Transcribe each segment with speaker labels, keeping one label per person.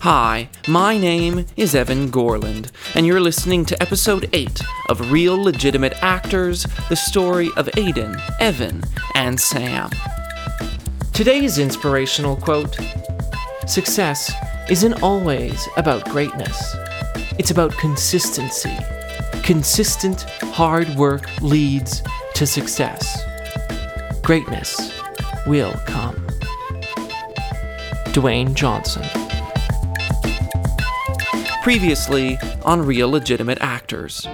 Speaker 1: Hi, my name is Evan Gorland, and you're listening to episode 8 of Real Legitimate Actors The Story of Aiden, Evan, and Sam. Today's inspirational quote Success isn't always about greatness, it's about consistency. Consistent hard work leads to success. Greatness will come. Dwayne Johnson previously on Real Legitimate Actors.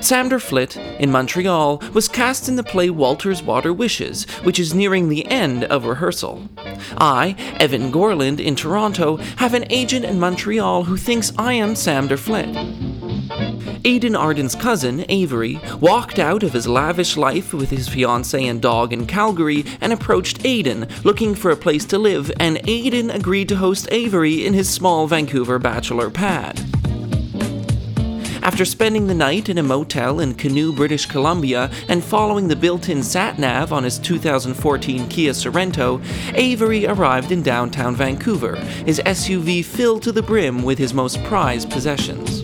Speaker 1: Sam Flit in Montreal was cast in the play Walter's Water Wishes, which is nearing the end of rehearsal. I, Evan Gorland in Toronto, have an agent in Montreal who thinks I am Sam Flit. Aidan Arden's cousin, Avery, walked out of his lavish life with his fiancee and dog in Calgary and approached Aidan, looking for a place to live, and Aidan agreed to host Avery in his small Vancouver bachelor pad. After spending the night in a motel in Canoe, British Columbia, and following the built in sat nav on his 2014 Kia Sorrento, Avery arrived in downtown Vancouver, his SUV filled to the brim with his most prized possessions.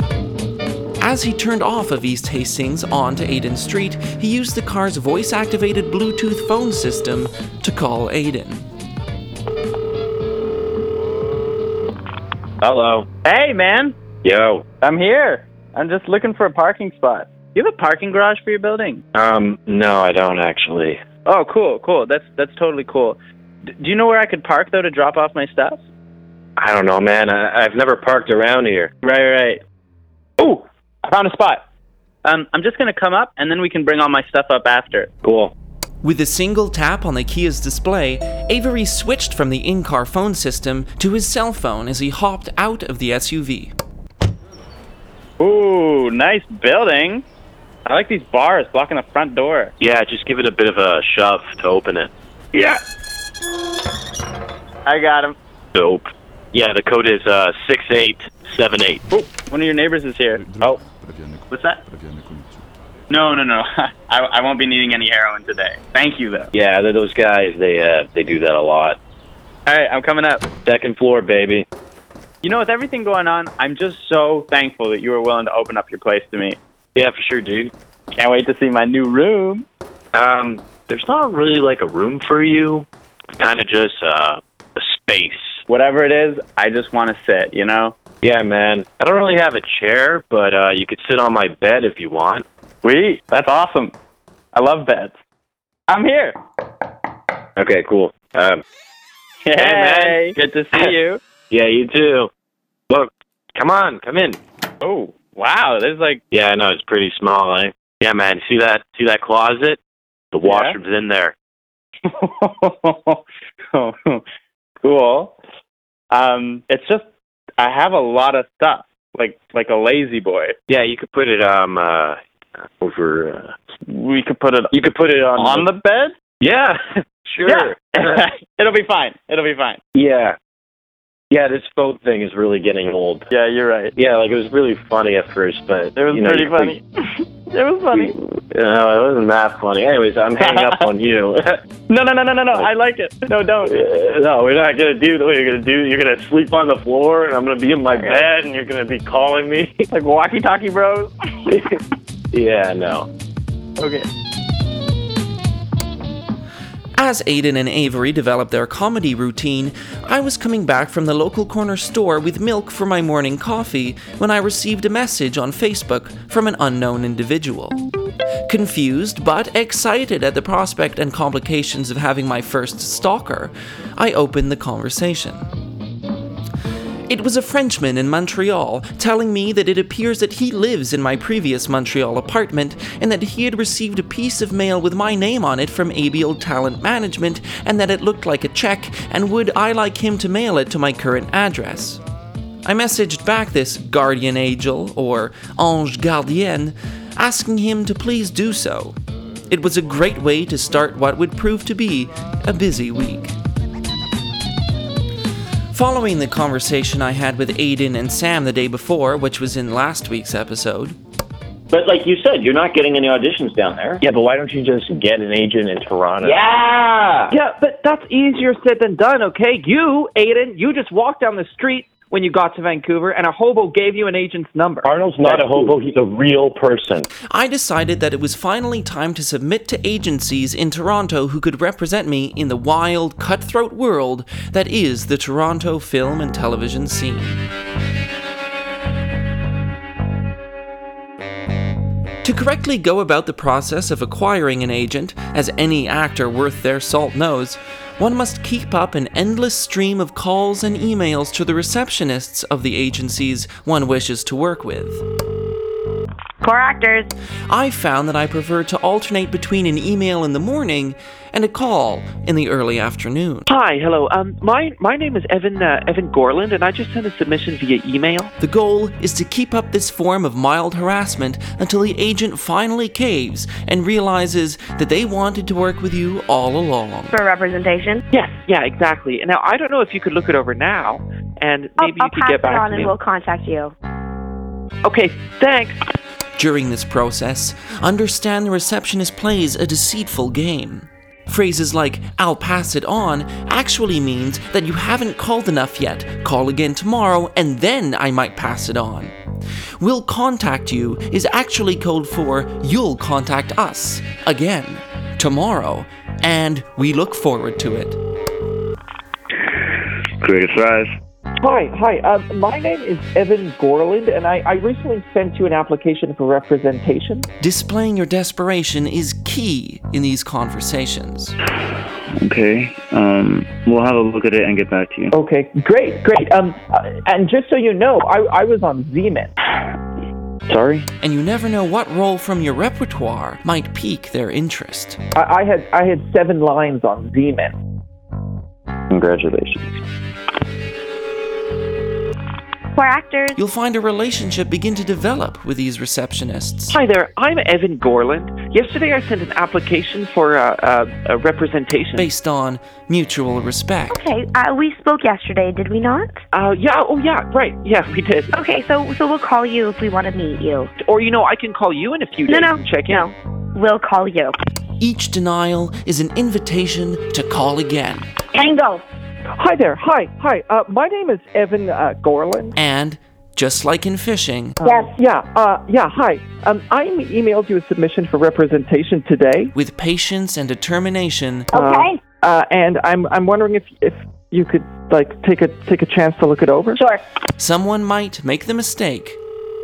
Speaker 1: As he turned off of East Hastings onto Aiden Street, he used the car's voice activated Bluetooth phone system to call Aiden.
Speaker 2: Hello.
Speaker 3: Hey, man.
Speaker 2: Yo.
Speaker 3: I'm here. I'm just looking for a parking spot. You have a parking garage for your building?
Speaker 2: Um, no, I don't actually.
Speaker 3: Oh, cool, cool. That's that's totally cool. D- do you know where I could park though to drop off my stuff?
Speaker 2: I don't know, man. I, I've never parked around here.
Speaker 3: Right, right. Oh, I found a spot. Um, I'm just gonna come up and then we can bring all my stuff up after.
Speaker 2: Cool.
Speaker 1: With a single tap on the Kia's display, Avery switched from the in car phone system to his cell phone as he hopped out of the SUV.
Speaker 3: Ooh, nice building. I like these bars blocking the front door.
Speaker 2: Yeah, just give it a bit of a shove to open it. Yeah.
Speaker 3: I got him.
Speaker 2: Dope. Yeah, the code is uh six eight seven eight.
Speaker 3: Oh, one of your neighbors is here. Oh, what's that? No, no, no. I, I won't be needing any heroin today. Thank you though.
Speaker 2: Yeah, they're those guys. They uh they do that a lot.
Speaker 3: All right, I'm coming up.
Speaker 2: Second floor, baby.
Speaker 3: You know, with everything going on, I'm just so thankful that you were willing to open up your place to me.
Speaker 2: Yeah, for sure, dude.
Speaker 3: Can't wait to see my new room.
Speaker 2: Um, there's not really like a room for you. It's kind of just uh a space.
Speaker 3: Whatever it is, I just want to sit, you know?
Speaker 2: Yeah, man. I don't really have a chair, but uh you could sit on my bed if you want.
Speaker 3: Sweet. That's awesome. I love beds. I'm here.
Speaker 2: Okay, cool. Um,
Speaker 3: Hey,
Speaker 2: man.
Speaker 3: Good to see you.
Speaker 2: yeah, you too. Look, come on, come in.
Speaker 3: Oh, wow. There's like,
Speaker 2: Yeah, I know it's pretty small, eh? Yeah, man. See that? See that closet? The
Speaker 3: Yeah.
Speaker 2: washroom's in there.
Speaker 3: cool. Um, it's just, I have a lot of stuff, like like a lazy boy.
Speaker 2: Yeah, you could put it um uh over. Uh,
Speaker 3: We could put it
Speaker 2: you could put it on.
Speaker 3: on the bed?
Speaker 2: yeah, sure.
Speaker 3: Yeah. It'll be fine. It'll be fine.
Speaker 2: yeah, yeah. This phone thing is really getting old.
Speaker 3: Yeah, you're right.
Speaker 2: Yeah, like it was really funny at first, but
Speaker 3: It was
Speaker 2: you know,
Speaker 3: pretty
Speaker 2: you-
Speaker 3: funny. it was funny.
Speaker 2: No, uh, it wasn't that funny. Anyways, I'm hanging up on you.
Speaker 3: No, no, no, no, no, no. I like it. No, don't.
Speaker 2: no, we're not gonna do that. You're gonna do. You're gonna sleep on the floor, and I'm gonna be in my bed, and you're gonna be calling me.
Speaker 3: Like walkie talkie bros.
Speaker 2: yeah, no.
Speaker 3: okay.
Speaker 1: As Aiden and Avery developed their comedy routine, I was coming back from the local corner store with milk for my morning coffee when I received a message on Facebook from an unknown individual. Confused but excited at the prospect and complications of having my first stalker, I opened the conversation. It was a Frenchman in Montreal telling me that it appears that he lives in my previous Montreal apartment and that he had received a piece of mail with my name on it from ABL Talent Management and that it looked like a check and would I like him to mail it to my current address. I messaged back this guardian angel, or ange gardienne, asking him to please do so. It was a great way to start what would prove to be a busy week. Following the conversation I had with Aiden and Sam the day before, which was in last week's episode,
Speaker 2: But like you said, you're not getting any auditions down there. Yeah, but why don't you just get an agent in Toronto?
Speaker 4: Yeah.
Speaker 3: Ah! Yeah, but that's easier said than done, okay? You, Aiden, you just walked down the street
Speaker 5: when you got to Vancouver, and a hobo gave you an agent's number.
Speaker 6: Arnold's not a hobo, he's a real person.
Speaker 1: I decided that it was finally time to submit to agencies in Toronto who could represent me in the wild, cutthroat world that is the Toronto film and television scene. To correctly go about the process of acquiring an agent, as any actor worth their salt knows, one must keep up an endless stream of calls and emails to the receptionists of the agencies one wishes to work with.
Speaker 7: Core actors.
Speaker 1: I found that I prefer to alternate between an email in the morning and a call in the early afternoon.
Speaker 8: Hi, hello. Um, my my name is Evan uh, Evan Gorland, and I just sent a submission via email.
Speaker 1: The goal is to keep up this form of mild harassment until the agent finally caves and realizes that they wanted to work with you all along.
Speaker 7: For representation.
Speaker 8: Yes, yeah, exactly. And Now I don't know if you could look it over now, and
Speaker 7: I'll,
Speaker 8: maybe
Speaker 7: I'll
Speaker 8: you could
Speaker 7: pass
Speaker 8: get
Speaker 7: it
Speaker 8: back
Speaker 7: on
Speaker 8: to me.
Speaker 7: and we'll contact you.
Speaker 8: Okay, thanks.
Speaker 1: During this process, understand the receptionist plays a deceitful game. Phrases like, I'll pass it on, actually means that you haven't called enough yet, call again tomorrow, and then I might pass it on. We'll contact you is actually code for, you'll contact us, again, tomorrow, and we look forward to it.
Speaker 9: Create size.
Speaker 5: Hi, hi. Um, my name is Evan Gorland, and I, I recently sent you an application for representation.
Speaker 1: Displaying your desperation is key in these conversations.
Speaker 9: Okay. Um, we'll have a look at it and get back to you.
Speaker 5: Okay, great, great. Um, uh, and just so you know, I, I was on Zeman.
Speaker 9: Sorry.
Speaker 1: and you never know what role from your repertoire might pique their interest.
Speaker 5: I, I had I had seven lines on Zeman.
Speaker 9: Congratulations.
Speaker 7: Core actors.
Speaker 1: You'll find a relationship begin to develop with these receptionists.
Speaker 8: Hi there.
Speaker 5: I'm Evan Gorland. Yesterday, I sent an application for uh, uh, a representation.
Speaker 1: Based on mutual respect.
Speaker 7: Okay, uh, we spoke yesterday, did we not?
Speaker 5: Uh, yeah, oh yeah, right. Yeah, we did.
Speaker 7: Okay, so so we'll call you if we want to meet you.
Speaker 5: Or you know, I can call you in a few
Speaker 7: No,
Speaker 5: days
Speaker 7: no,
Speaker 5: and check in.
Speaker 7: no. We'll call you.
Speaker 1: Each denial is an invitation to call again.
Speaker 7: Tango.
Speaker 5: Hi there. Hi, hi. Uh, my name is Evan uh, Gorland.
Speaker 1: And, just like in fishing,
Speaker 7: Yes.
Speaker 5: Yeah, uh, yeah. Hi. Um, I emailed you a submission for representation today,
Speaker 1: with patience and determination,
Speaker 7: Okay.
Speaker 5: uh, and I'm I'm wondering if if you could like take a take a chance to look it over.
Speaker 7: Sure.
Speaker 1: someone might make the mistake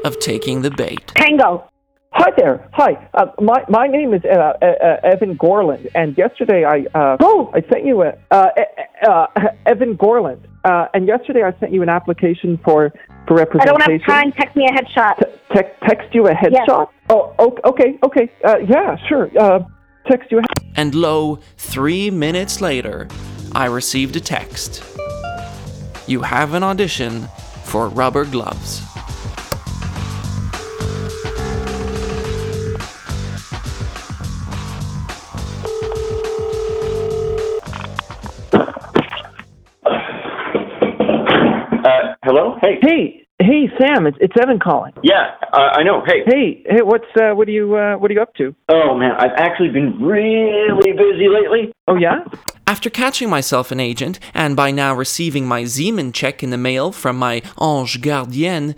Speaker 1: of taking the bait.
Speaker 7: Tango.
Speaker 5: Hi there. Hi. Uh, my my name is uh, uh, uh, Evan Gorland, and yesterday I uh, oh I sent you a uh, uh, uh, Evan Gorland, uh, and yesterday I sent you an application for for
Speaker 7: I
Speaker 5: representation.
Speaker 7: don't have time. Text me a headshot.
Speaker 5: Te- tec- text you a
Speaker 7: Yes.
Speaker 5: headshot. Oh, o- okay, okay. Uh, yeah, sure. Uh, text you. A-
Speaker 1: And lo, three minutes later, I received a text. You have an audition for Rubber Gloves.
Speaker 3: Uh, hello? Hey.
Speaker 5: hey, hey, Sam. It's it's Evan calling.
Speaker 3: Yeah, uh, I know. Hey.
Speaker 5: Hey, hey. What's uh, what are you uh, what are you up to?
Speaker 3: Oh, man, I've actually been really busy lately.
Speaker 5: Oh yeah.
Speaker 1: After catching myself an agent, and by now receiving my Zeman check in the mail from my ange gardienne,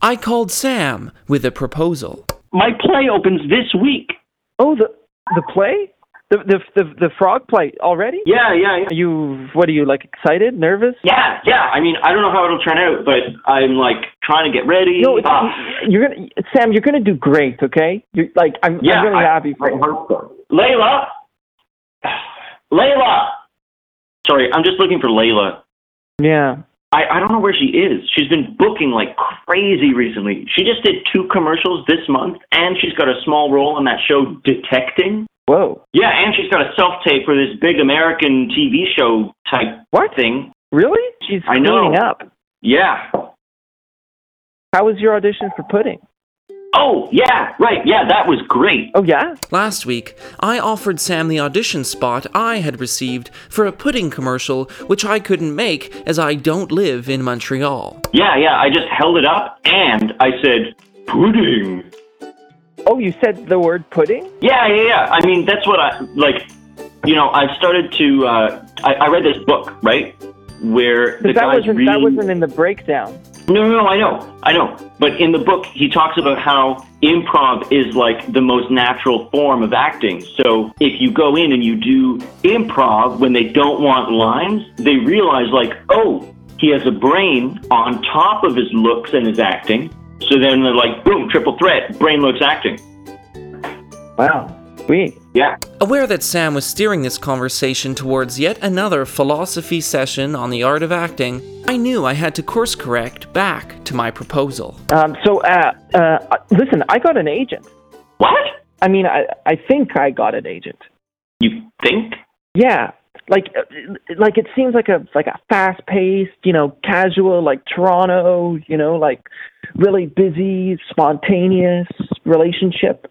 Speaker 1: I called Sam with a proposal.
Speaker 10: My play opens this week.
Speaker 5: Oh the the play, the the the, the frog play already.
Speaker 10: Yeah, yeah, yeah.
Speaker 5: Are you what are you like excited, nervous?
Speaker 10: Yeah, yeah. I mean, I don't know how it'll turn out, but I'm like trying to get ready.
Speaker 5: No, it's,
Speaker 10: Ah,
Speaker 5: you're gonna Sam. You're gonna do great. Okay. You're like I'm.
Speaker 10: yeah,
Speaker 5: I'm really
Speaker 10: I-
Speaker 5: happy for
Speaker 10: I
Speaker 5: you.
Speaker 10: hope so. Layla, Layla. Sorry, I'm just looking for Layla.
Speaker 5: Yeah.
Speaker 10: I, I don't know where she is. She's been booking like crazy recently. She just did two commercials this month, and she's got a small role in that show Detecting.
Speaker 5: Whoa.
Speaker 10: Yeah, and she's got a self tape for this big American TV show type
Speaker 5: What?
Speaker 10: thing.
Speaker 5: Really? She's
Speaker 10: I know.
Speaker 5: cleaning up.
Speaker 10: Yeah,
Speaker 5: How was your audition for Pudding?
Speaker 10: Oh, yeah, right. Yeah, that was great.
Speaker 5: Oh yeah.
Speaker 1: Last week, I offered Sam the audition spot I had received for a pudding commercial, which I couldn't make as I don't live in Montreal.
Speaker 10: Yeah, yeah, I just held it up and I said, pudding.
Speaker 5: Oh, you said the word pudding.
Speaker 10: Yeah, yeah, yeah. I mean, that's what I like. You know, I've started to. Uh, I, I read this book, right? where the
Speaker 5: Because that
Speaker 10: guy's
Speaker 5: wasn't
Speaker 10: reading.
Speaker 5: that wasn't in the breakdown.
Speaker 10: No, no, no, I know, I know. But in the book, he talks about how improv is like the most natural form of acting. So if you go in and you do improv when they don't want lines, they realize, like, oh, he has a brain on top of his looks and his acting. So then they're like, boom, triple threat, brain looks acting.
Speaker 5: Wow. Sweet.
Speaker 10: Yeah.
Speaker 1: Aware that Sam was steering this conversation towards yet another philosophy session on the art of acting, I knew I had to course correct back to my proposal.
Speaker 5: Um, so, uh, uh, listen, I got an agent.
Speaker 10: What?
Speaker 5: I mean, I, I think I got an agent.
Speaker 10: You think?
Speaker 5: Yeah, like uh, like it seems like a like a fast paced, you know, casual like Toronto, you know, like really busy, spontaneous relationship.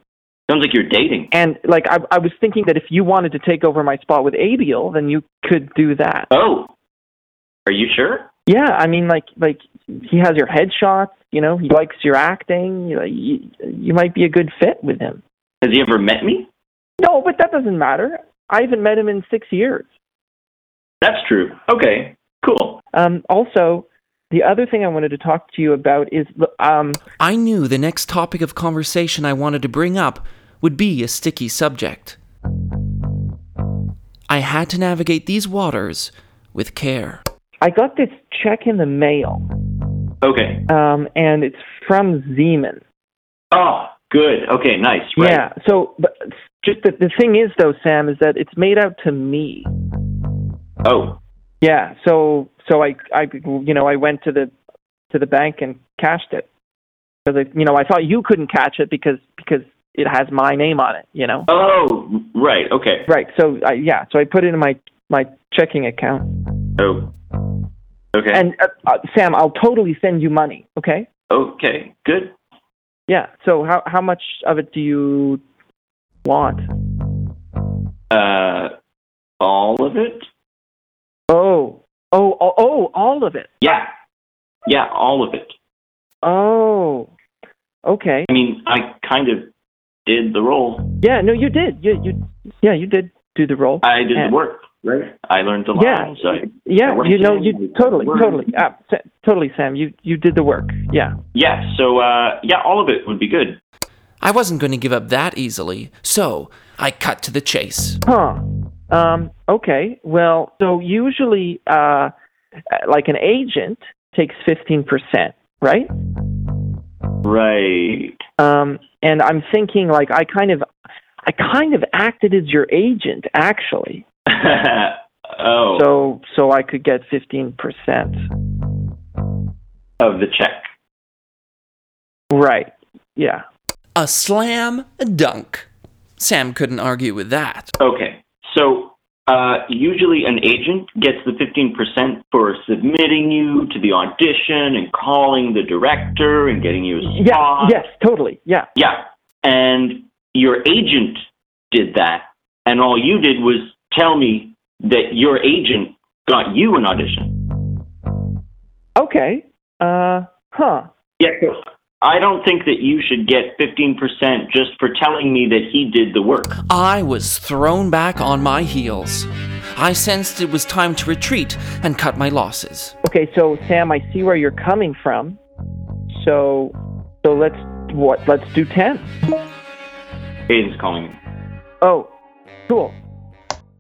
Speaker 10: Sounds like you're dating.
Speaker 5: And like I, I was thinking that if you wanted to take over my spot with Abiel, then you could do that.
Speaker 10: Oh, are you sure?
Speaker 5: Yeah, I mean, like like he has your headshots, you know, he likes your acting. You, know, you, you might be a good fit with him.
Speaker 10: Has he ever met me?
Speaker 5: No, but that doesn't matter. I haven't met him in six years.
Speaker 10: That's true. Okay, cool.
Speaker 5: Um, also, the other thing I wanted to talk to you about is um,
Speaker 1: I knew the next topic of conversation I wanted to bring up would be a sticky subject. I had to navigate these waters with care.
Speaker 5: I got this check in the mail,
Speaker 10: Okay.
Speaker 5: um, and it's from Zeman.
Speaker 10: Oh, good. Okay, nice. Right.
Speaker 5: Yeah. So, but just the, the thing is, though, Sam, is that it's made out to me.
Speaker 10: Oh,
Speaker 5: Yeah. So, so I, I, you know, I went to the to the bank and cashed it because, you know, I thought you couldn't catch it because because it has my name on it. You know.
Speaker 10: oh, right. Okay.
Speaker 5: Right. So, I, yeah. So I put it in my my checking account.
Speaker 10: Oh, okay.
Speaker 5: And uh, uh, Sam, I'll totally send you money. Okay.
Speaker 10: okay. Good.
Speaker 5: Yeah. So how how much of it do you want?
Speaker 10: Uh, all of it?
Speaker 5: Oh, oh, oh, oh, all of it.
Speaker 10: Yeah. Yeah, all of it.
Speaker 5: Oh, okay.
Speaker 10: I mean, I kind of did the role.
Speaker 5: Yeah. No, you did. You you. Yeah, you did do the role.
Speaker 10: I did
Speaker 5: Yeah.
Speaker 10: the work. Right. I learned the
Speaker 5: Yeah.
Speaker 10: lines. I,
Speaker 5: yeah.
Speaker 10: I worked
Speaker 5: You know.
Speaker 10: in,
Speaker 5: You
Speaker 10: I
Speaker 5: totally,
Speaker 10: worked.
Speaker 5: totally, uh, Sa- totally, Sam. You you did the work. Yeah.
Speaker 10: Yeah. So, uh, yeah, all of it would be good.
Speaker 1: I wasn't going to give up that easily, so I cut to the chase.
Speaker 5: Huh. Um. Okay. Well. So usually, uh, like an agent takes fifteen percent, right?
Speaker 10: Right.
Speaker 5: um, and I'm thinking like I kind of, I kind of acted as your agent actually,
Speaker 10: oh,
Speaker 5: so so I could get fifteen percent.
Speaker 10: of the check.
Speaker 5: Right? Yeah.
Speaker 1: A slam dunk. Sam couldn't argue with that.
Speaker 10: Okay. So uh, usually an agent gets the 15% for submitting you to the audition and calling the director and getting you a
Speaker 5: Yeah.
Speaker 10: spot.
Speaker 5: Yes. Totally. Yeah.
Speaker 10: Yeah. And your agent did that. And all you did was tell me that your agent got you an audition.
Speaker 5: Okay. Uh. Huh.
Speaker 10: Yeah. I don't think that you should get 15% just for telling me that he did the work.
Speaker 1: I was thrown back on my heels. I sensed it was time to retreat and cut my losses.
Speaker 5: Okay. So Sam, I see where you're coming from. So, so let's what? Let's do ten.
Speaker 10: Aiden's calling me.
Speaker 5: Oh, cool.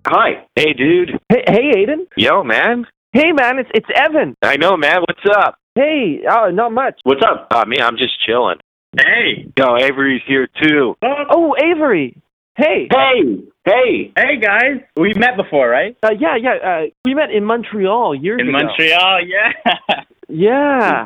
Speaker 8: Hi. Hey, dude.
Speaker 5: Hey, hey, Aiden.
Speaker 8: Yo, man.
Speaker 5: Hey, man. It's it's Evan.
Speaker 8: I know, man. What's up?
Speaker 5: Hey. Oh, not much.
Speaker 10: What's up?
Speaker 8: Uh, me, I'm just chilling.
Speaker 3: Hey,
Speaker 8: Yo, Avery's here too.
Speaker 5: Oh, Avery. Hey.
Speaker 10: Hey! Hey!
Speaker 3: hey guys. We met before, right?
Speaker 5: Uh, yeah, yeah. Uh, we met in Montreal years
Speaker 3: In
Speaker 5: ago.
Speaker 3: Montreal, yeah.
Speaker 5: Yeah.
Speaker 10: I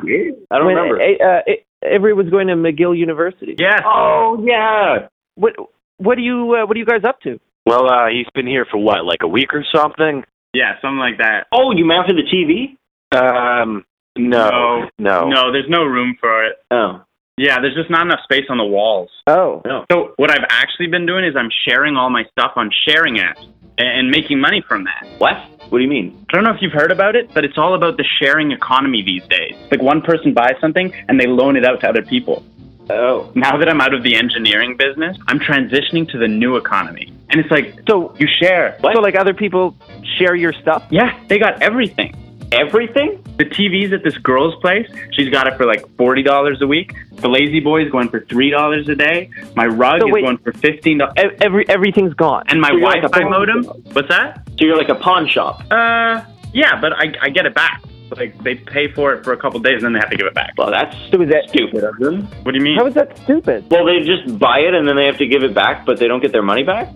Speaker 10: don't
Speaker 5: when
Speaker 10: remember.
Speaker 5: A, uh, A- Avery was going to McGill University.
Speaker 3: Yes.
Speaker 10: Oh, yeah!
Speaker 5: What What do you uh, What are you guys up to?
Speaker 8: Well, uh, he's been here for what, like a week or something?
Speaker 3: Yeah, something like that.
Speaker 10: Oh, you mounted the TV?
Speaker 8: Um, no,
Speaker 9: Oh.
Speaker 8: no.
Speaker 3: No, there's no room for it.
Speaker 10: Oh.
Speaker 3: Yeah, there's just not enough space on the walls.
Speaker 5: Oh.
Speaker 3: So what I've actually been doing is I'm sharing all my stuff on sharing apps and and making money from that.
Speaker 10: What? What do you mean?
Speaker 3: I don't know if you've heard about it, but it's all about the sharing economy these days. Like one person buys something and they loan it out to other people.
Speaker 10: Oh.
Speaker 3: Now that I'm out of the engineering business, I'm transitioning to the new economy. And it's like
Speaker 5: So
Speaker 3: you share.
Speaker 5: so like other people share your stuff.
Speaker 3: Yeah, they got everything. Everything? The TV's at this girl's place. She's got it for like $40 a week. The Lazy Boy is going for $3 a day. My rug
Speaker 8: So
Speaker 3: is
Speaker 8: wait-
Speaker 3: going for $15.
Speaker 8: E- Every everything's gone.
Speaker 3: And my
Speaker 10: So you're like
Speaker 3: Wi
Speaker 10: a
Speaker 3: Fi
Speaker 10: pawn
Speaker 3: modem?
Speaker 10: shop.
Speaker 3: What's that?
Speaker 10: So you're like a pawn shop.
Speaker 3: Uh, yeah, but I, I get it back. Like, they pay for it for a couple days and then they have to give it back.
Speaker 10: Well, that's
Speaker 8: So is that-
Speaker 10: stupid of them.
Speaker 3: What do you mean?
Speaker 8: How is that stupid?
Speaker 10: Well, they just buy it and then they have to give it back, but they don't get their money back.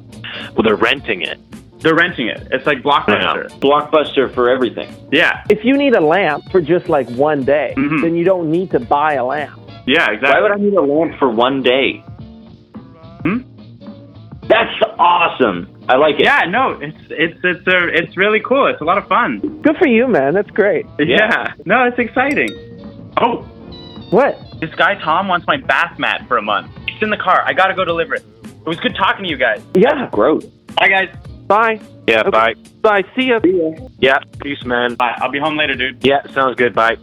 Speaker 2: Well, they're renting it.
Speaker 3: They're renting it. It's like Blockbuster.
Speaker 10: Blockbuster for everything.
Speaker 3: Yeah,
Speaker 8: If you need a lamp for just like one day,
Speaker 3: Mhm.
Speaker 8: then you don't need to buy a lamp.
Speaker 3: yeah, exactly.
Speaker 10: Why would I need a lamp for one day?
Speaker 3: Hmm?
Speaker 10: That's awesome. I like it.
Speaker 3: Yeah, no, it's it's it's a, it's really cool. It's a lot of fun.
Speaker 8: Good for you, man. That's great.
Speaker 3: Yeah.
Speaker 10: Yeah.
Speaker 3: No, it's exciting. Oh,
Speaker 8: What?
Speaker 3: this guy Tom wants my bath mat for a month. It's in the car. I gotta go deliver it. It was good talking to you guys.
Speaker 8: Yeah.
Speaker 10: Gross.
Speaker 3: Bye, guys.
Speaker 8: Bye.
Speaker 2: Yeah,
Speaker 8: Okay.
Speaker 2: bye.
Speaker 8: Bye. See ya.
Speaker 2: Yeah, peace, man.
Speaker 3: Bye. I'll be home later, dude.
Speaker 2: Yeah, sounds good. Bye.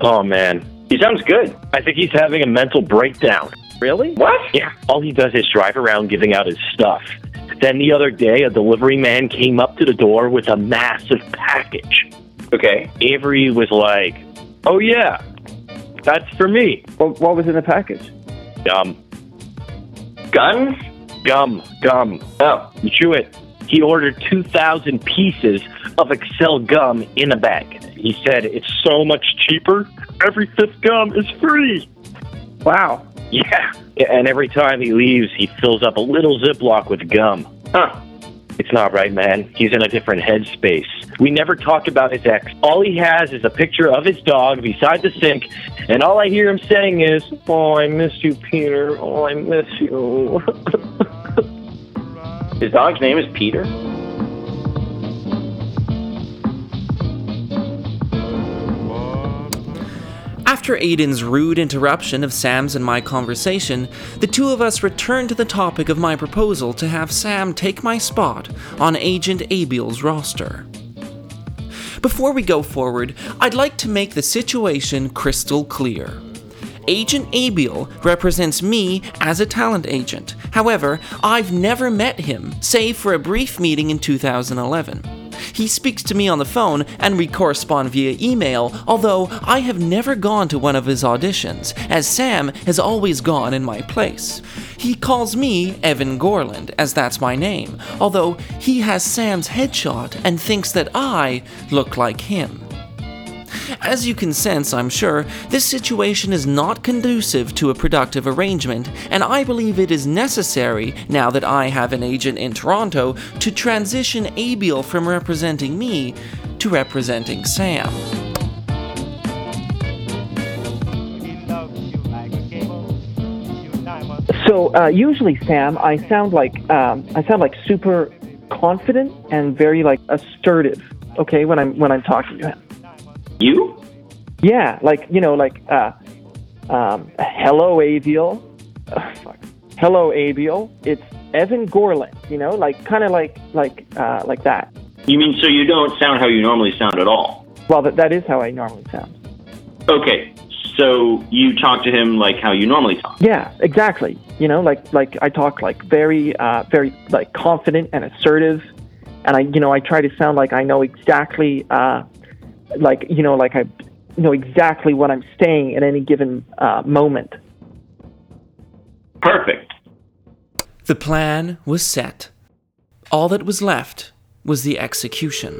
Speaker 2: Oh man,
Speaker 10: He sounds good.
Speaker 2: I think he's having a mental breakdown.
Speaker 8: Really?
Speaker 10: What?
Speaker 2: Yeah, all he does is drive around giving out his stuff. Then the other day, a delivery man came up to the door with a massive package.
Speaker 10: Okay.
Speaker 2: Avery was like, "Oh yeah, that's for me." Um,
Speaker 8: What, what was in the package?
Speaker 2: Gum,
Speaker 10: Guns?
Speaker 2: gum, gum.
Speaker 10: Oh.
Speaker 2: You chew it. He ordered 2,000 pieces of Excel gum in a bag. He said, It's so much cheaper. Every fifth gum is free.
Speaker 8: Wow.
Speaker 2: Yeah. And every time he leaves, he fills up a little Ziploc with gum.
Speaker 10: Huh.
Speaker 2: It's not right, man. He's in a different headspace. We never talked about his ex. All he has is a picture of his dog beside the sink, and all I hear him saying is, Oh, I miss you, Peter. Oh, I miss you.
Speaker 10: His dog's name is Peter.
Speaker 1: After Aiden's rude interruption of Sam's and my conversation, the two of us returned to the topic of my proposal to have Sam take my spot on Agent Abiel's roster. Before we go forward, I'd like to make the situation crystal clear. Agent Abiel represents me as a talent agent. However, I've never met him, save for a brief meeting in 2011. He speaks to me on the phone and we correspond via email, although I have never gone to one of his auditions, as Sam has always gone in my place. He calls me Evan Gorland, as that's my name, although he has Sam's headshot and thinks that I look like him. As you can sense, I'm sure, this situation is not conducive to a productive arrangement, and I believe it is necessary, now that I have an agent in Toronto, to transition Abiel from representing me to representing Sam.
Speaker 5: So uh, usually, Sam, I sound like um, I sound like super confident and very like assertive. Okay, when I'm when I'm talking to him.
Speaker 10: You?
Speaker 5: Yeah, like you know, like uh, um, hello, Avial. Ugh, fuck. Hello, Avial. It's Evan Gorland. You know, like kind of like like uh, like that.
Speaker 10: You mean so you don't sound how you normally sound at all?
Speaker 5: Well, that that is how I normally sound.
Speaker 10: Okay. So you talk to him like how you normally talk.
Speaker 5: Yeah, exactly. You know, like like I talk like very uh, very like confident and assertive, and I you know I try to sound like I know exactly uh, like you know like I know exactly what I'm saying at any given uh, moment.
Speaker 10: Perfect.
Speaker 1: The plan was set. All that was left was the execution.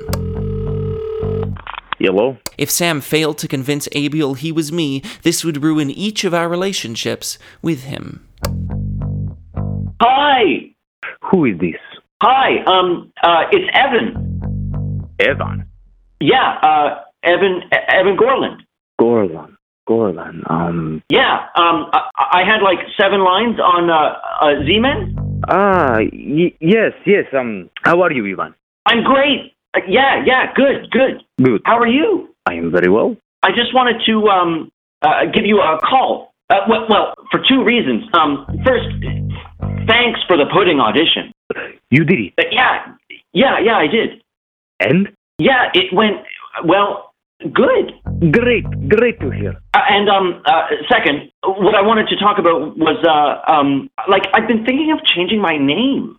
Speaker 2: Hello?
Speaker 1: If Sam failed to convince Abiel he was me, this would ruin each of our relationships with him.
Speaker 10: Hi.
Speaker 2: Who is this?
Speaker 10: Hi. Um. Uh. It's Evan.
Speaker 2: Evan.
Speaker 10: Yeah. Uh. Evan. Evan Gorland.
Speaker 9: Gorlan. Gorlan. Um.
Speaker 10: Yeah. Um. I, I had like seven lines on uh, uh Z-Men.
Speaker 9: Ah. Y- yes. Yes. Um. How are you, Ivan?
Speaker 10: I'm great. Uh, yeah. Yeah. Good. Good.
Speaker 9: Good.
Speaker 10: How are you?
Speaker 9: I am very well.
Speaker 10: I just wanted to um, uh, give you a call. Uh, well, well, for two reasons. Um, first, thanks for the pudding audition.
Speaker 9: You did it.
Speaker 10: Uh, yeah, yeah, yeah, I did.
Speaker 9: And
Speaker 10: Yeah, it went well, good.
Speaker 9: great. Great to hear.
Speaker 10: Uh, and um, uh, second, what I wanted to talk about was uh, um, like I've been thinking of changing my name.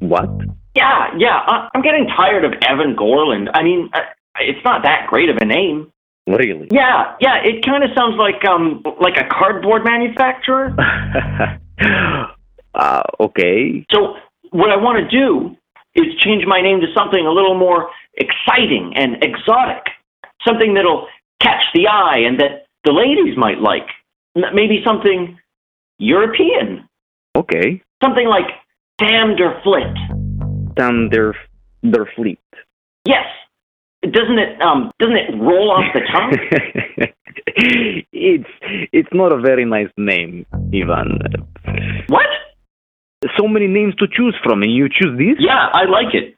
Speaker 9: What?
Speaker 10: Yeah, yeah. I, I'm getting tired of Evan Gorland. I mean, uh, it's not that great of a name.
Speaker 2: Really?
Speaker 10: Yeah, yeah. It kind of sounds like um like a cardboard manufacturer.
Speaker 9: uh, okay.
Speaker 10: So what I want to do is change my name to something a little more exciting and exotic, something that'll catch the eye and that the ladies might like. M- Maybe something European,
Speaker 9: Okay.
Speaker 10: something like Sam der Flit.
Speaker 9: Damn their their fleet.
Speaker 10: Yes, doesn't it um doesn't it roll off the tongue?
Speaker 9: it's it's not a very nice name, Ivan.
Speaker 10: what?
Speaker 9: So many names to choose from, and you choose this?
Speaker 10: Yeah, I like it.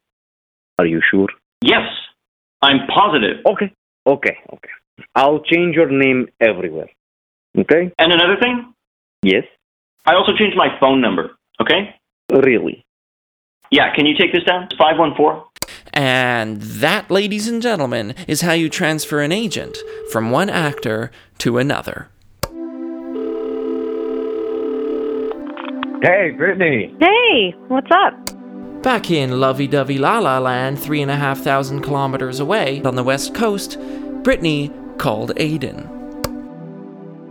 Speaker 9: Are you sure?
Speaker 10: Yes, I'm positive.
Speaker 9: Okay. Okay. Okay. I'll change your name everywhere. Okay.
Speaker 10: And another thing,
Speaker 9: Yes.
Speaker 10: I also changed my phone number. Okay.
Speaker 9: Really.
Speaker 10: Yeah, can you take this down? Five one four.
Speaker 1: And that, ladies and gentlemen, is how you transfer an agent from one actor to another.
Speaker 2: Hey, Brittany.
Speaker 7: Hey, what's up?
Speaker 1: Back in lovey dovey La La Land, three and a half thousand kilometers away on the west coast, Brittany called Aiden.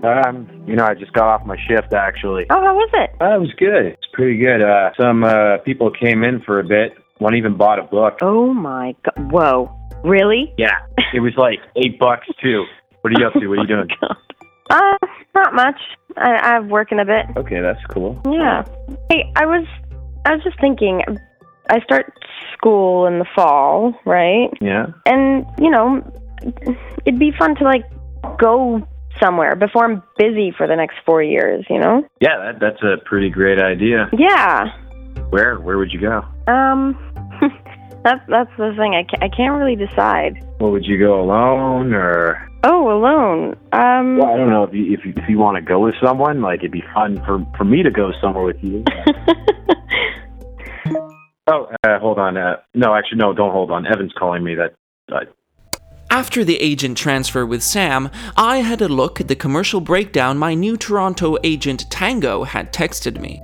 Speaker 2: Um, you know, I just got off my shift actually.
Speaker 7: Oh, how was it?
Speaker 2: That was good. It's pretty good. Uh, some uh, people came in for a bit. One even bought a book.
Speaker 7: Oh my god. Whoa. Really?
Speaker 2: Yeah, it was like eight bucks too. What are you up to? What are you doing?
Speaker 7: Oh Uh, not much. I, I'm working a bit.
Speaker 2: Okay, that's cool.
Speaker 7: Yeah. Hey, I was, I was just thinking. I start school in the fall, right?
Speaker 2: Yeah.
Speaker 7: And you know, it'd be fun to like go somewhere before I'm busy for the next four years. You know?
Speaker 2: Yeah, that, that's a pretty great idea.
Speaker 7: Yeah.
Speaker 2: Where where would you go?
Speaker 7: Um, that that's the thing. I ca I can't really decide.
Speaker 2: Well, would you go alone or?
Speaker 7: Oh, alone. Um.
Speaker 2: Well, I don't know if you if you, if you want to go with someone. Like, it'd be fun for for me to go somewhere with you. oh, uh, hold on. Uh, no, actually, no, don't hold on. Evan's calling me. That. Uh,
Speaker 1: After the agent transfer with Sam, I had a look at the commercial breakdown my new Toronto agent Tango had texted me.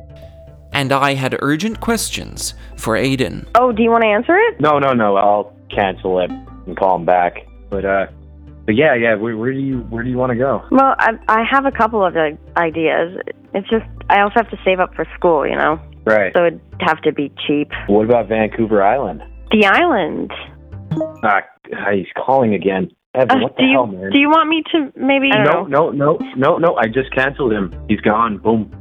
Speaker 1: And I had urgent questions for Aiden.
Speaker 7: oh, do you want to answer it?
Speaker 2: no, no, no. I'll cancel it and call him back. But uh, but yeah, yeah. Where, where do you where do you want to go?
Speaker 7: Well, I I have a couple of like, ideas. It's just I also have to save up for school, you know.
Speaker 2: Right.
Speaker 7: So it'd have to be cheap.
Speaker 2: What about Vancouver Island?
Speaker 7: The island.
Speaker 2: Ah, he's calling again.
Speaker 7: Uh,
Speaker 2: Evan, what the
Speaker 7: do you
Speaker 2: hell, man?
Speaker 7: do you want me to maybe? I
Speaker 2: no,
Speaker 7: don't know.
Speaker 2: no, no, no, no. I just canceled him. He's gone. Boom.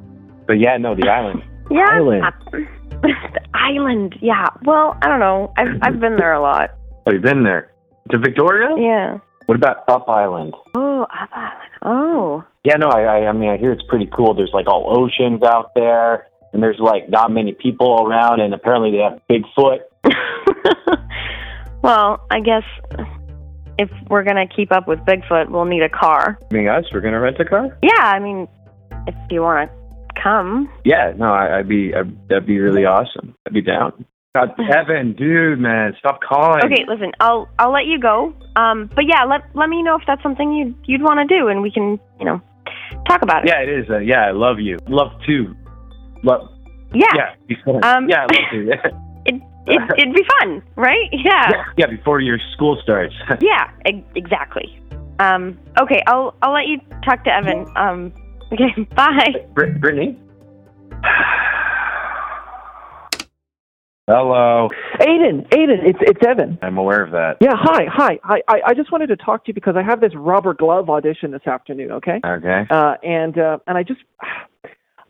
Speaker 2: But yeah, no, the island.
Speaker 7: Yeah.
Speaker 2: Island.
Speaker 7: uh, the island. Yeah. Well, I don't know. I've I've been there a lot.
Speaker 2: Oh, you've been there. To Victoria?
Speaker 7: Yeah.
Speaker 2: What about Up Island?
Speaker 7: Oh, up island. Oh.
Speaker 2: Yeah, no, I, I, I mean, I hear it's pretty cool. There's like all oceans out there, and there's like not many people around, and apparently they have Bigfoot.
Speaker 7: well, I guess if we're gonna keep up with Bigfoot, we'll need a car.
Speaker 2: Being us, we're gonna rent a car.
Speaker 7: Yeah. I mean, if you want to come.
Speaker 2: Yeah, no, I, I'd be, I'd, that'd be really awesome. I'd be down. God, Evan, dude, man, stop calling.
Speaker 7: Hmm. Okay, listen, I'll I'll let you go. Um, but yeah, let let me know if that's something you would you'd want to do, and we can you know talk about it.
Speaker 2: Yeah, it is. Uh, yeah, I love you. Love to. Love.
Speaker 7: Yeah,
Speaker 2: Yeah. Before,
Speaker 7: Um,
Speaker 2: yeah, I love to.
Speaker 7: It, it'd be fun, right? Yeah,
Speaker 2: yeah, yeah, before your school starts.
Speaker 7: yeah, e- exactly. Um, okay, I'll I'll let you talk to Evan. Um, okay, bye.
Speaker 2: Br- Brittany? Hello.
Speaker 5: Aiden, Aiden, it's it's Evan.
Speaker 2: I'm aware of that.
Speaker 5: Yeah, hi, hi. I, I, I just wanted to talk to you because I have this rubber glove audition this afternoon, okay?
Speaker 2: Okay.
Speaker 5: Uh, and uh, and I just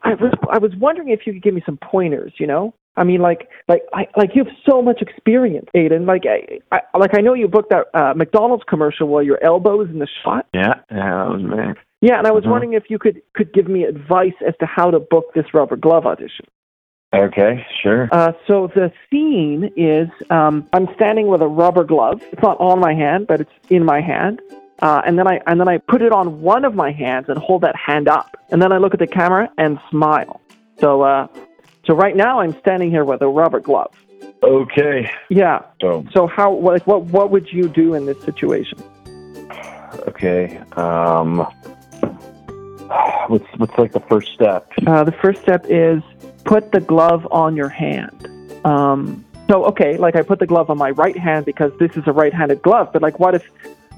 Speaker 5: I was I was wondering if you could give me some pointers, you know? I mean like like I like you have so much experience, Aiden. Like I, I like I know you booked that uh, McDonald's commercial while your elbow is in the shot.
Speaker 2: Yeah, yeah, that was me.
Speaker 5: Yeah, and I was
Speaker 2: Mhm.
Speaker 5: wondering if you could could give me advice as to how to book this rubber glove audition.
Speaker 2: Okay, sure.
Speaker 5: Uh, so the scene is um, I'm standing with a rubber glove. It's not on my hand, but it's in my hand. Uh, and then I and then I put it on one of my hands and hold that hand up. And then I look at the camera and smile. So uh, so right now I'm standing here with a rubber glove.
Speaker 2: Okay.
Speaker 5: Yeah.
Speaker 2: So,
Speaker 5: So how what what what would you do in this situation?
Speaker 2: okay. Um what's what's like the first step?
Speaker 5: Uh, the first step is put the glove on your hand. Um, So okay, like I put the glove on my right hand because this is a right-handed glove. But like, what if,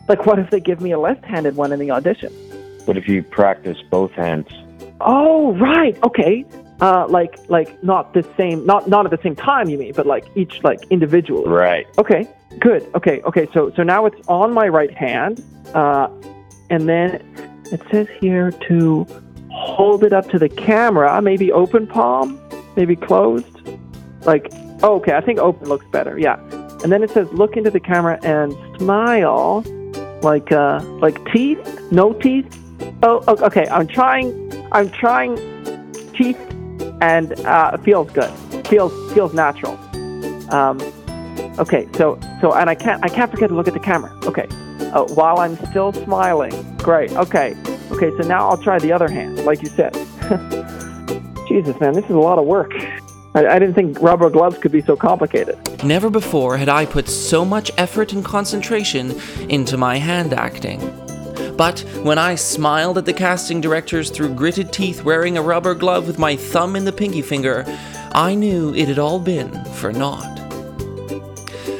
Speaker 5: like, what if they give me a left-handed one in the audition?
Speaker 11: What if you practice both hands?
Speaker 5: Oh right, okay. Uh, like like not the same, not not at the same time. You mean, but like each like individually.
Speaker 11: Right.
Speaker 5: Okay, good. Okay, okay. So so now it's on my right hand, uh, and then it says here to hold it up to the camera. Maybe open palm, maybe closed. Like oh, okay, I think open looks better. Yeah, and then it says look into the camera and smile, like uh like teeth, no teeth. Oh o- okay, I'm trying. I'm trying teeth, and uh, feels good. Feels feels natural. Um, Okay, so so and I can't I can't forget to look at the camera. Okay, uh, while I'm still smiling. Great. Okay, okay. So now I'll try the other hand, like you said. Jesus, man, this is a lot of work. I, I didn't think rubber gloves could be so complicated.
Speaker 1: Never before had I put so much effort and concentration into my hand acting. But when I smiled at the casting directors through gritted teeth wearing a rubber glove with my thumb in the pinky finger, I knew it had all been for naught.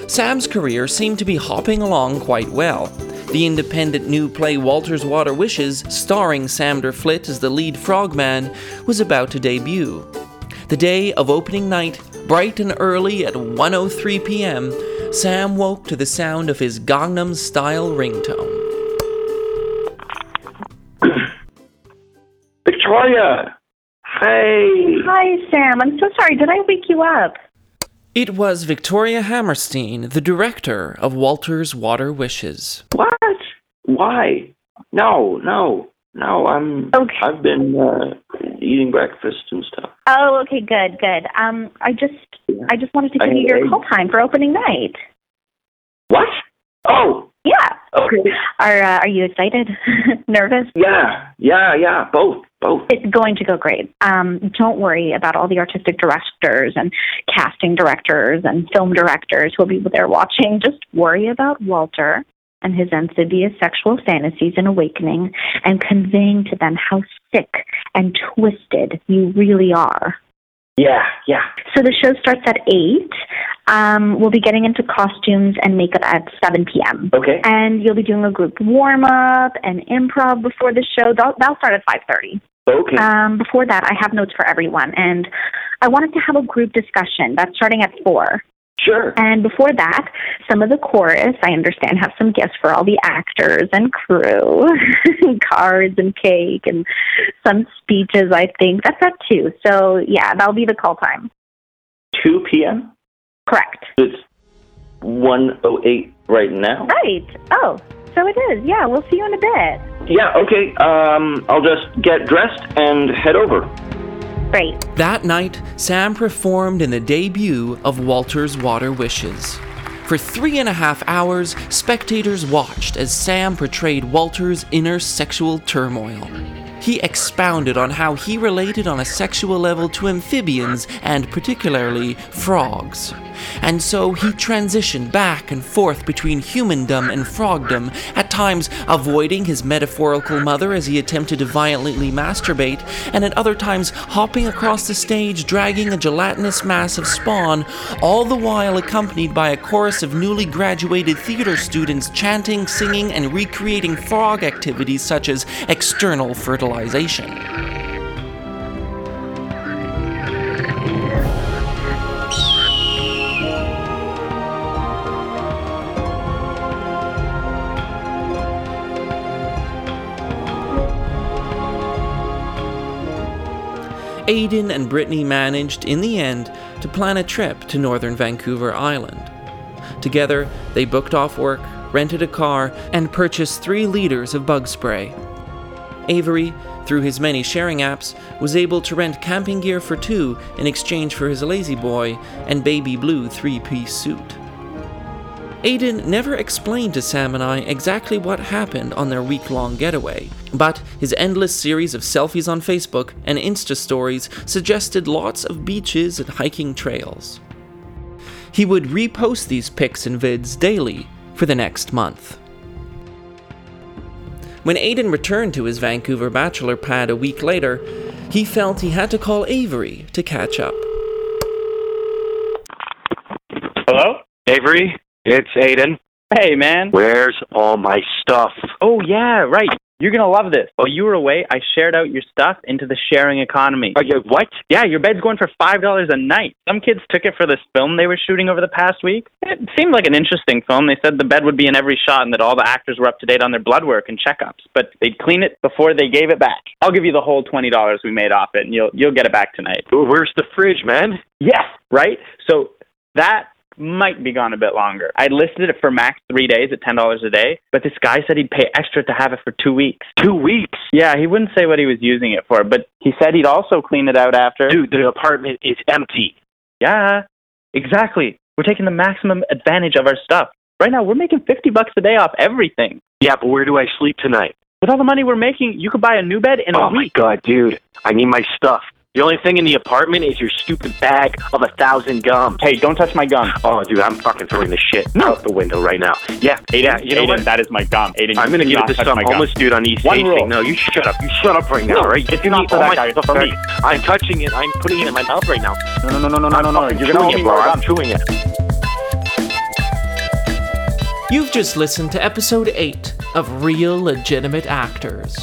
Speaker 1: Sam's career seemed to be hopping along quite well. The independent new play Walter's Water Wishes, starring Sam Flitt as the lead frogman, was about to debut. The day of opening night, bright and early at 1:03 p.m., Sam woke to the sound of his Gangnam Style ringtone.
Speaker 12: Victoria! Hey!
Speaker 7: Hi, Sam. I'm so sorry. Did I wake you up?
Speaker 1: It was Victoria Hammerstein, the director of Walter's Water Wishes.
Speaker 12: What? Why? No, no, no. I'm. I've been uh, eating breakfast and stuff.
Speaker 7: Oh, okay, good, good. Um, I just, I just wanted to give
Speaker 12: I-
Speaker 7: you your
Speaker 12: I-
Speaker 7: call time for opening night.
Speaker 12: What? Oh,
Speaker 7: Yeah.
Speaker 12: Okay.
Speaker 7: Are uh, Are you excited? Nervous?
Speaker 12: Yeah, yeah, yeah. Both, both.
Speaker 7: It's going to go great. Um, don't worry about all the artistic directors and casting directors and film directors who'll be there watching. Just worry about Walter and his amphibious sexual fantasies and awakening and conveying to them how sick and twisted you really are.
Speaker 12: Yeah, yeah.
Speaker 7: So the show starts at 8. Um, we'll be getting into costumes and makeup at 7 p.m.
Speaker 12: Okay.
Speaker 7: And you'll be doing a group warm-up and improv before the show. That'll, that'll start at 5.30.
Speaker 12: Okay.
Speaker 7: Um, before that, I have notes for everyone. And I wanted to have a group discussion. That's starting at 4.
Speaker 12: Sure.
Speaker 7: And before that, some of the chorus, I understand, have some gifts for all the actors and crew, cards and cake and some speeches, I think. That's at 2. So, yeah, that'll be the call time.
Speaker 12: 2 p.m.
Speaker 7: Correct.
Speaker 12: It's 1:08 right now.
Speaker 7: Right. Oh, so it is. Yeah, we'll see you in a bit.
Speaker 12: Yeah. Okay. Um, I'll just get dressed and head over.
Speaker 7: Great.
Speaker 1: That night, Sam performed in the debut of Walter's Water Wishes. For three and a half hours, spectators watched as Sam portrayed Walter's inner sexual turmoil. He expounded on how he related on a sexual level to amphibians and particularly frogs. And so he transitioned back and forth between humandom and frogdom, at times avoiding his metaphorical mother as he attempted to violently masturbate, and at other times hopping across the stage dragging a gelatinous mass of spawn, all the while accompanied by a chorus of newly graduated theater students chanting, singing, and recreating frog activities such as external fertilization. Aidan and Brittany managed, in the end, to plan a trip to northern Vancouver Island. Together, they booked off work, rented a car, and purchased three liters of bug spray. Avery, through his many sharing apps, was able to rent camping gear for two in exchange for his lazy boy and baby blue three piece suit. Aiden never explained to Sam and I exactly what happened on their week long getaway, but his endless series of selfies on Facebook and Insta stories suggested lots of beaches and hiking trails. He would repost these pics and vids daily for the next month. When Aiden returned to his Vancouver bachelor pad a week later, he felt he had to call Avery to catch up.
Speaker 2: Avery, it's Aiden.
Speaker 3: Hey, man.
Speaker 2: Where's all my stuff?
Speaker 3: Oh, yeah, right. You're going to love this. While you were away, I shared out your stuff into the sharing economy.
Speaker 2: Okay, what?
Speaker 3: Yeah, your bed's going for $5 a night. Some kids took it for this film they were shooting over the past week. It seemed like an interesting film. They said the bed would be in every shot and that all the actors were up to date on their blood work and checkups, but they'd clean it before they gave it back. I'll give you the whole $20 we made off it, and you'll, you'll get it back tonight.
Speaker 2: Where's the fridge, man?
Speaker 3: Yes, right? So that might be gone a bit longer. I listed it for max three days at ten dollars a day, but this guy said he'd pay extra to have it for two weeks.
Speaker 2: Two weeks?
Speaker 3: Yeah, he wouldn't say what he was using it for, but he said he'd also clean it out after.
Speaker 2: Dude, the apartment is empty.
Speaker 3: Yeah, exactly. We're taking the maximum advantage of our stuff. Right now, we're making fifty bucks a day off everything.
Speaker 2: Yeah, but where do I sleep tonight?
Speaker 3: With all the money we're making, you could buy a new bed in
Speaker 2: oh
Speaker 3: a week.
Speaker 2: my god, dude! I need my stuff. The only thing in the apartment is your stupid bag of a thousand gums.
Speaker 3: Hey, don't touch my gum.
Speaker 2: Oh, dude, I'm fucking throwing this shit out the window right now. Yeah, Aiden, you know
Speaker 3: Aiden,
Speaker 2: what?
Speaker 3: that is my gum. Aiden,
Speaker 2: I'm gonna
Speaker 3: do
Speaker 2: give
Speaker 3: not
Speaker 2: it to
Speaker 3: touch
Speaker 2: some
Speaker 3: my gum.
Speaker 2: homeless dude on East
Speaker 3: One
Speaker 2: 8th.
Speaker 3: rule.
Speaker 2: No, you shut up. You shut up right now,
Speaker 3: No,
Speaker 2: right?
Speaker 3: it's
Speaker 2: Give me
Speaker 3: not for
Speaker 2: all
Speaker 3: that
Speaker 2: my
Speaker 3: guy, it's
Speaker 2: stuff
Speaker 3: for
Speaker 2: back.
Speaker 3: me.
Speaker 2: I'm touching it. I'm putting it in my mouth right now.
Speaker 3: No, no, no, no, no,
Speaker 2: I'm
Speaker 3: no, no.
Speaker 2: fucking
Speaker 3: You're gonna
Speaker 2: chewing
Speaker 3: owe
Speaker 2: it, bro.
Speaker 3: me more
Speaker 2: I'm
Speaker 3: gum.
Speaker 2: chewing it.
Speaker 1: You've just listened to episode 8 of Real Legitimate Actors.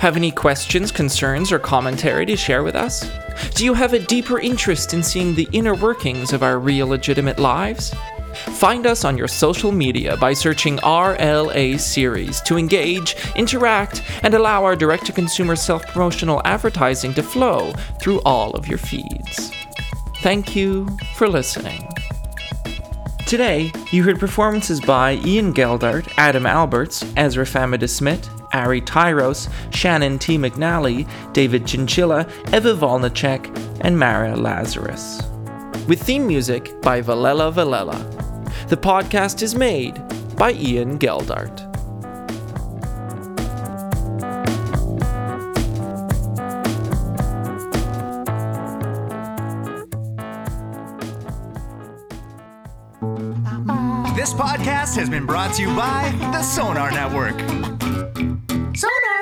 Speaker 1: Have any questions, concerns, or commentary to share with us? Do you have a deeper interest in seeing the inner workings of our real legitimate lives? Find us on your social media by searching RLA Series to engage, interact, and allow our direct to consumer self promotional advertising to flow through all of your feeds. Thank you for listening. Today, you heard performances by Ian Geldart, Adam Alberts, Ezra Famida Smith, Ari Tyros, Shannon T. McNally, David Chinchilla, Eva Volnacek, and Mara Lazarus. With theme music by Valela Valela. The podcast is made by Ian Geldart.
Speaker 13: This podcast has been brought to you by the Sonar Network. Sonar!